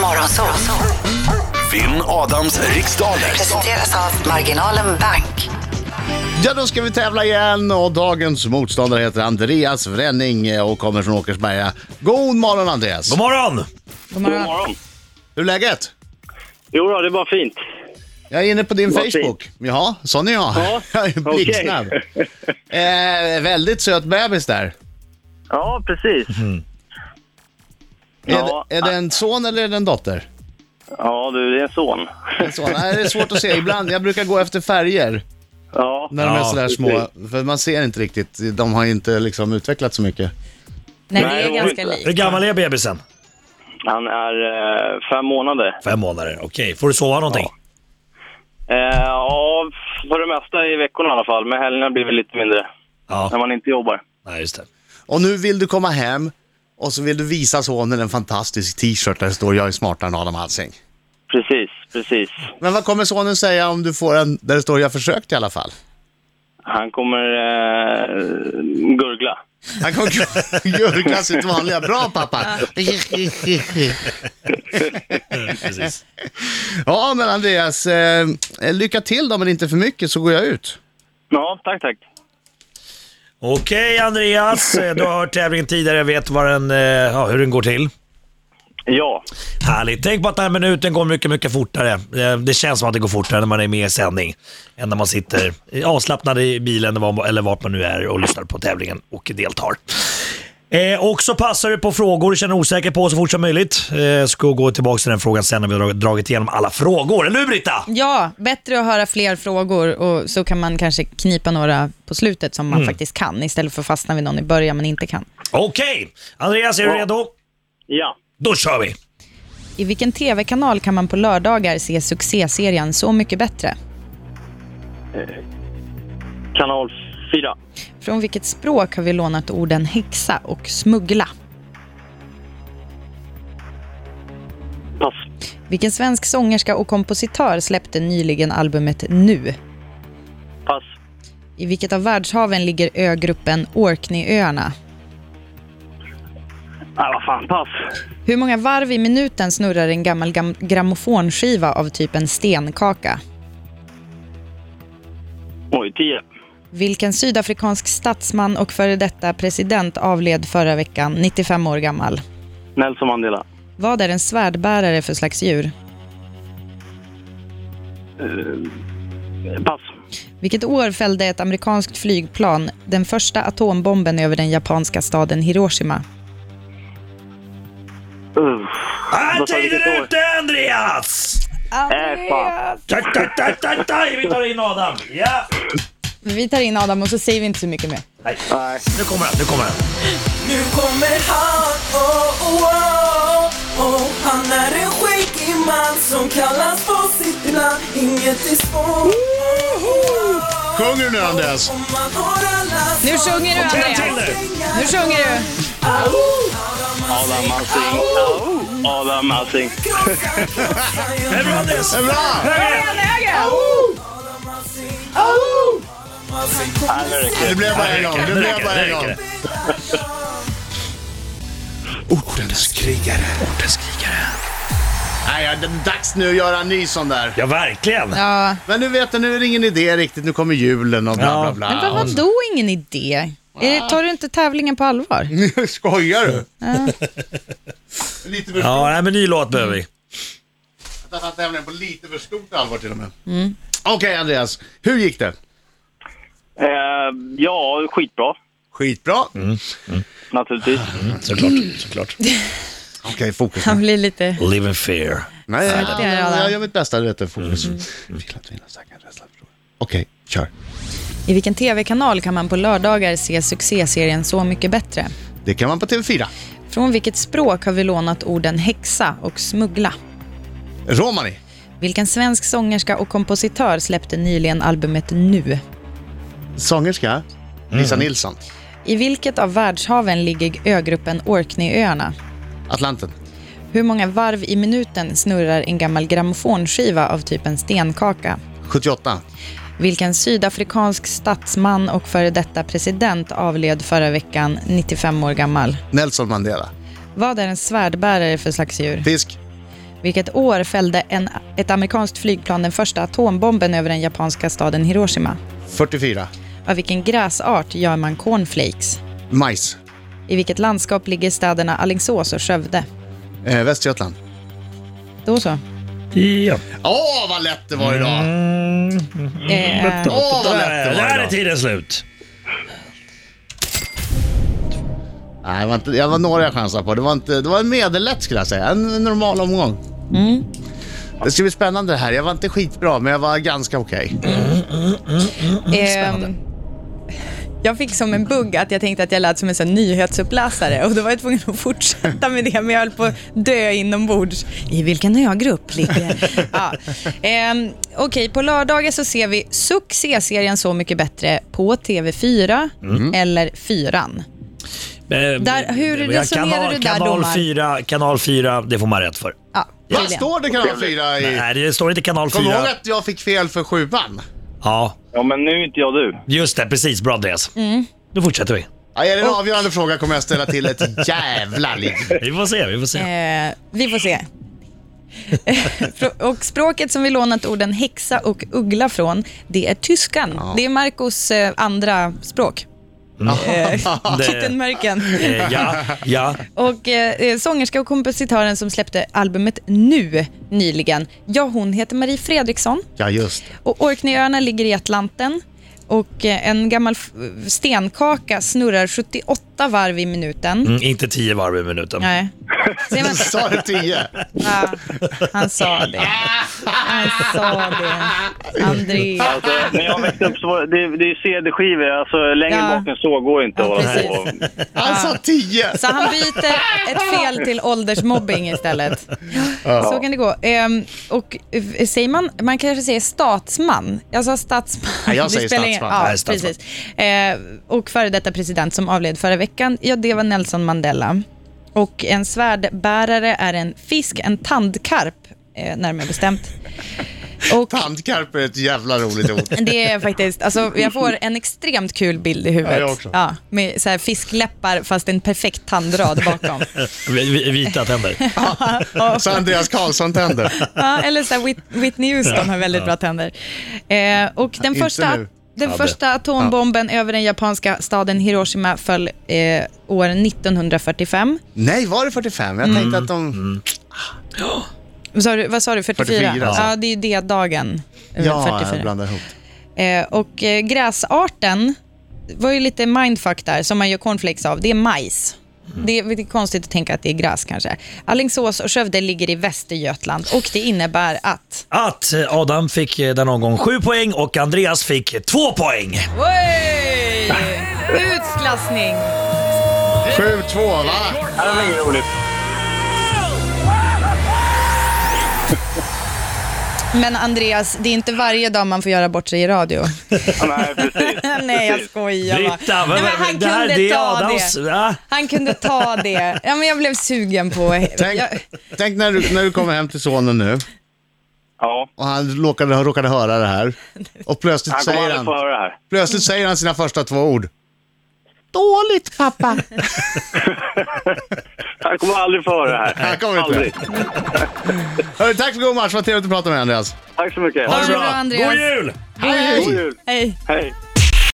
Morgonzoo. Vinn Adams riksdaler. Presenteras av Marginalen Bank. Ja, då ska vi tävla igen och dagens motståndare heter Andreas Vränning och kommer från Åkersberga. God morgon Andreas! God morgon! God morgon. Hur är läget? Jo då, det var fint. Jag är inne på din Vad fint. Facebook. Ja, sån är jag. Ja, jag är okej. blixtsnabb. Eh, väldigt söt bebis där. Ja, precis. Ja. Mm-hmm. Är, det- är det en son eller är det en dotter? Ja, du, det är en son. En son. Nej, det är svårt att se. Ibland, jag brukar gå efter färger Ja, när de är Ja, sådär små. För man ser inte riktigt. De har inte liksom utvecklat så mycket. Nej, Nej, det det är var ganska inte. likt. Hur gammal är bebisen? han är eh, fem månader. Fem månader, okej. Får du sova någonting? Eh, ja, för det mesta i veckorna i alla fall. Men helgerna blir väl lite mindre. Ja. När man inte jobbar. Nej, just det. Och nu vill du komma hem och så vill du visa sonen en fantastisk t-shirt där det står “Jag är smartare än Adam Alsing”. Precis, precis. Men vad kommer sonen säga om du får en där det står “Jag försökte i alla fall”? Han kommer eh, gurgla. Han kommer gurgla sitt vanliga “Bra pappa”. Precis. Ja men Andreas, eh, lycka till då men inte för mycket så går jag ut. Ja, tack, tack. Okej Andreas, eh, du har hört tävlingen tidigare, vet vad den, eh, ja, hur den går till. Ja, Härligt. Tänk på att den här minuten går mycket, mycket fortare. Eh, Det känns som att det går fortare när man är med i sändning än när man sitter eh, avslappnad i bilen var- eller vart man nu är och lyssnar på tävlingen och deltar. Eh, och så passar du på frågor du känner osäker på så fort som möjligt. Eh, ska gå tillbaka till den frågan sen när vi har drag- dragit igenom alla frågor. Eller hur Britta? Ja, bättre att höra fler frågor och så kan man kanske knipa några på slutet som man faktiskt kan istället för att fastna vid någon i början man inte kan. Okej, Andreas är du Ja. redo? ja. Då kör vi! I vilken tv-kanal kan man på lördagar se succéserien Så mycket bättre? Kanal 4. Från vilket språk har vi lånat orden häxa och smuggla? Pass. Vilken svensk sångerska och kompositör släppte nyligen albumet Nu? Pass. I vilket av världshaven ligger ögruppen Orkneyöarna? Nej, vad fan. Pass. Hur många varv i minuten snurrar en gammal gam- grammofonskiva av typen stenkaka? Oj, 10. Vilken sydafrikansk statsman och före detta president avled förra veckan, 95 år gammal? Nelson Mandela. Vad är en svärdbärare för slags djur? Pass. Vilket år fällde ett amerikanskt flygplan den första atombomben över den japanska staden Hiroshima? Uh. Här Vad sa du, tiden vilket är år? ute Andreas! Äh, fan. Tack, tack, tack, tack, tack! Vi tar in Adam. Ja! Vi tar in Adam och så säger vi inte så mycket mer. Nej. Nu kommer han, nu kommer han. Nu kommer han, oh, oh, oh, oh. Han är en skäggig man som kallas på sitt namn Inget är svårt Sjunger du nu Andreas? Om man har alla Nu svar. sjunger du En Andreas! till nu! Nu sjunger du! Adam Alsing. Adam Alsing. Krossar, krossar, Det är jag bra Anders! Bra! Nej, nu räcker Det det. blev bara en gång, det Nu blev räcker bara det, en nu räcker gång. det. Ordens krigare. Ordens krigare. Nej, ja, det är dags nu att göra en ny sån där. Ja, verkligen. Ja. Men nu vet du, nu är det ingen idé riktigt. Nu kommer julen och bla bla Ja. bla. Men vad, vadå ingen idé? Är det, tar du inte tävlingen på allvar? Skojar du? Lite för Ja, nej, men ny låt behöver vi. Jag tar tävlingen på lite för stort allvar till och med. Mm. Okej Andreas, hur gick det? Eh, ja, skitbra. Skitbra. Naturligtvis. Såklart, såklart. Okej, fokus. Han blir lite... Live in fear. Nej, jag, det är jag, alla. gör mitt bästa, du vet. det, Fokus. Vill att vinna, säkert rädsla för förlora. Okej, kör. I vilken tv-kanal kan man på lördagar se succéserien Så mycket bättre? Det kan man på TV4. Från vilket språk har vi lånat orden häxa och smuggla? Romani. Vilken svensk sångerska och kompositör släppte nyligen albumet Nu? Sångerska. Lisa Nilsson. I vilket av världshaven ligger ögruppen Orkneyöarna? Atlanten. Hur många varv i minuten snurrar en gammal grammofonskiva av typen stenkaka? 78. Vilken sydafrikansk statsman och före detta president avled förra veckan, 95 år gammal? Nelson Mandela. Vad är en svärdbärare för slags djur? Fisk. Vilket år fällde en, ett amerikanskt flygplan den första atombomben över den japanska staden Hiroshima? 44. Av vilken gräsart gör man cornflakes? Majs. I vilket landskap ligger städerna Alingsås och Skövde? Eh, Västergötland. Då så. Ja. Åh, vad lätt det var idag! Eh, Åh, vad lätt Mm. det Där, var där är idag! tiden slut. Nej, det var, inte, det var några jag chansade på. Det var, inte, det var en medellätt skulle jag säga. En en normal omgång. Mm. Det ska bli spännande det här. Jag var inte skitbra, men jag var ganska okej. Ehm, jag fick som en bugg att jag tänkte att jag lät som en sån här nyhetsuppläsare och då var jag tvungen att fortsätta med det, men jag höll på att dö inombords. I vilken ögrupp ligger... ja. Ehm, Okej, på lördagar så ser vi succéserien Så mycket bättre på TV4 Mm. eller Fyran. Eh, Där- hur resonerar du där, kanal domar? 4, kanal 4, det får man rätt för. Ja, Vad tydligen. står det kanal 4 i? Nej, det står inte kanal Kom 4. ihåg att jag fick fel för sjuan. Ja, Ja, men nu är inte jag du. just det. Precis. Bra Andreas. Mm. Då fortsätter vi. Ja, är det en avgörande fråga kommer jag ställa till ett jävla liv. Vi får se, vi får se. Eh, vi får se. Frå- och språket som vi lånat orden häxa och uggla från, det är tyskan. Det är Marcos eh, andra språk. Mm. Eh, Det- Kittenmörken. eh, ja, ja. Och eh, sångerska och kompositören som släppte albumet Nu nyligen, ja hon heter Marie Fredriksson Ja, just det. och Orkneyöarna ligger i Atlanten och eh, en gammal f- stenkaka snurrar 78 varv i minuten. Mm, inte tio varv i minuten. Nej. Säger man Du sa det 10. Ja, han sa det. Han sa det. André. Alltså, när jag växte upp så var det, det är CD-skivor. Alltså, längre Ja. bak än så går inte att Ja, hålla precis. på. Han sa 10. Så han byter ett fel till åldersmobbing istället. Så kan det gå. Ehm, och eh, säger man, man kanske säger statsman. Jag sa statsman. Nej, jag Det säger spelar ingen- statsman. Ja, Nej, statsman. Precis. Ehm, och före detta president som avled förra veckan, ja det var Nelson Mandela. Och en svärdbärare är en fisk, en tandkarp, eh, närmare bestämt. Och Tandkarp är ett jävla roligt ord. Det är faktiskt, alltså, jag får en extremt kul bild i huvudet. Ja, jag också. Ja, med så här fiskläppar fast en perfekt tandrad bakom. Vi- vi- Vita tänder. Så Andreas Karlsson tänder. ja, eller så här Whit- Whitney Houston har väldigt bra tänder. Eh, och den Inte första, nu. den Hade. första atombomben över den japanska staden Hiroshima föll eh, år 1945. Nej, var det 45? Jag tänkte att de... Vad sa du? Vad sa du 44? 44, alltså. Ja, det är ju D-dagen. eh, Ja, 44. jag blandar ihop. Eh, och eh, gräsarten var ju lite mindfuck där, som man gör cornflakes av. Det är majs. Det är lite konstigt att tänka att det är gräs kanske. Alingsås och Skövde ligger i Västergötland och det innebär att... Att eh, Adam fick eh, den omgång 7 poäng och Andreas fick eh, 2 poäng. Utklassning! 7-2, va? Det var inget roligt. Men Andreas, det är inte varje dag man får göra bort sig i radio. Nej, precis. Nej, jag skojar bara. Britta, Nej, men han det här kunde det är ta Adams... det. Ja. Han kunde ta det. Ja, men jag blev sugen på... Tänk, Jag, tänk när, du, när du kommer hem till sonen nu Ja, och han råkade, råkade höra det här. Och plötsligt han kommer säger aldrig få han, höra det här. plötsligt säger han sina första två ord. Dåligt pappa. Han kommer aldrig få höra det här. Han kommer inte. Aldrig. Hörru, tack för god match. Vad trevligt att prata med dig, Andreas. Tack så mycket. Ha det bra, Andreas. God jul! God jul. hej. Hej.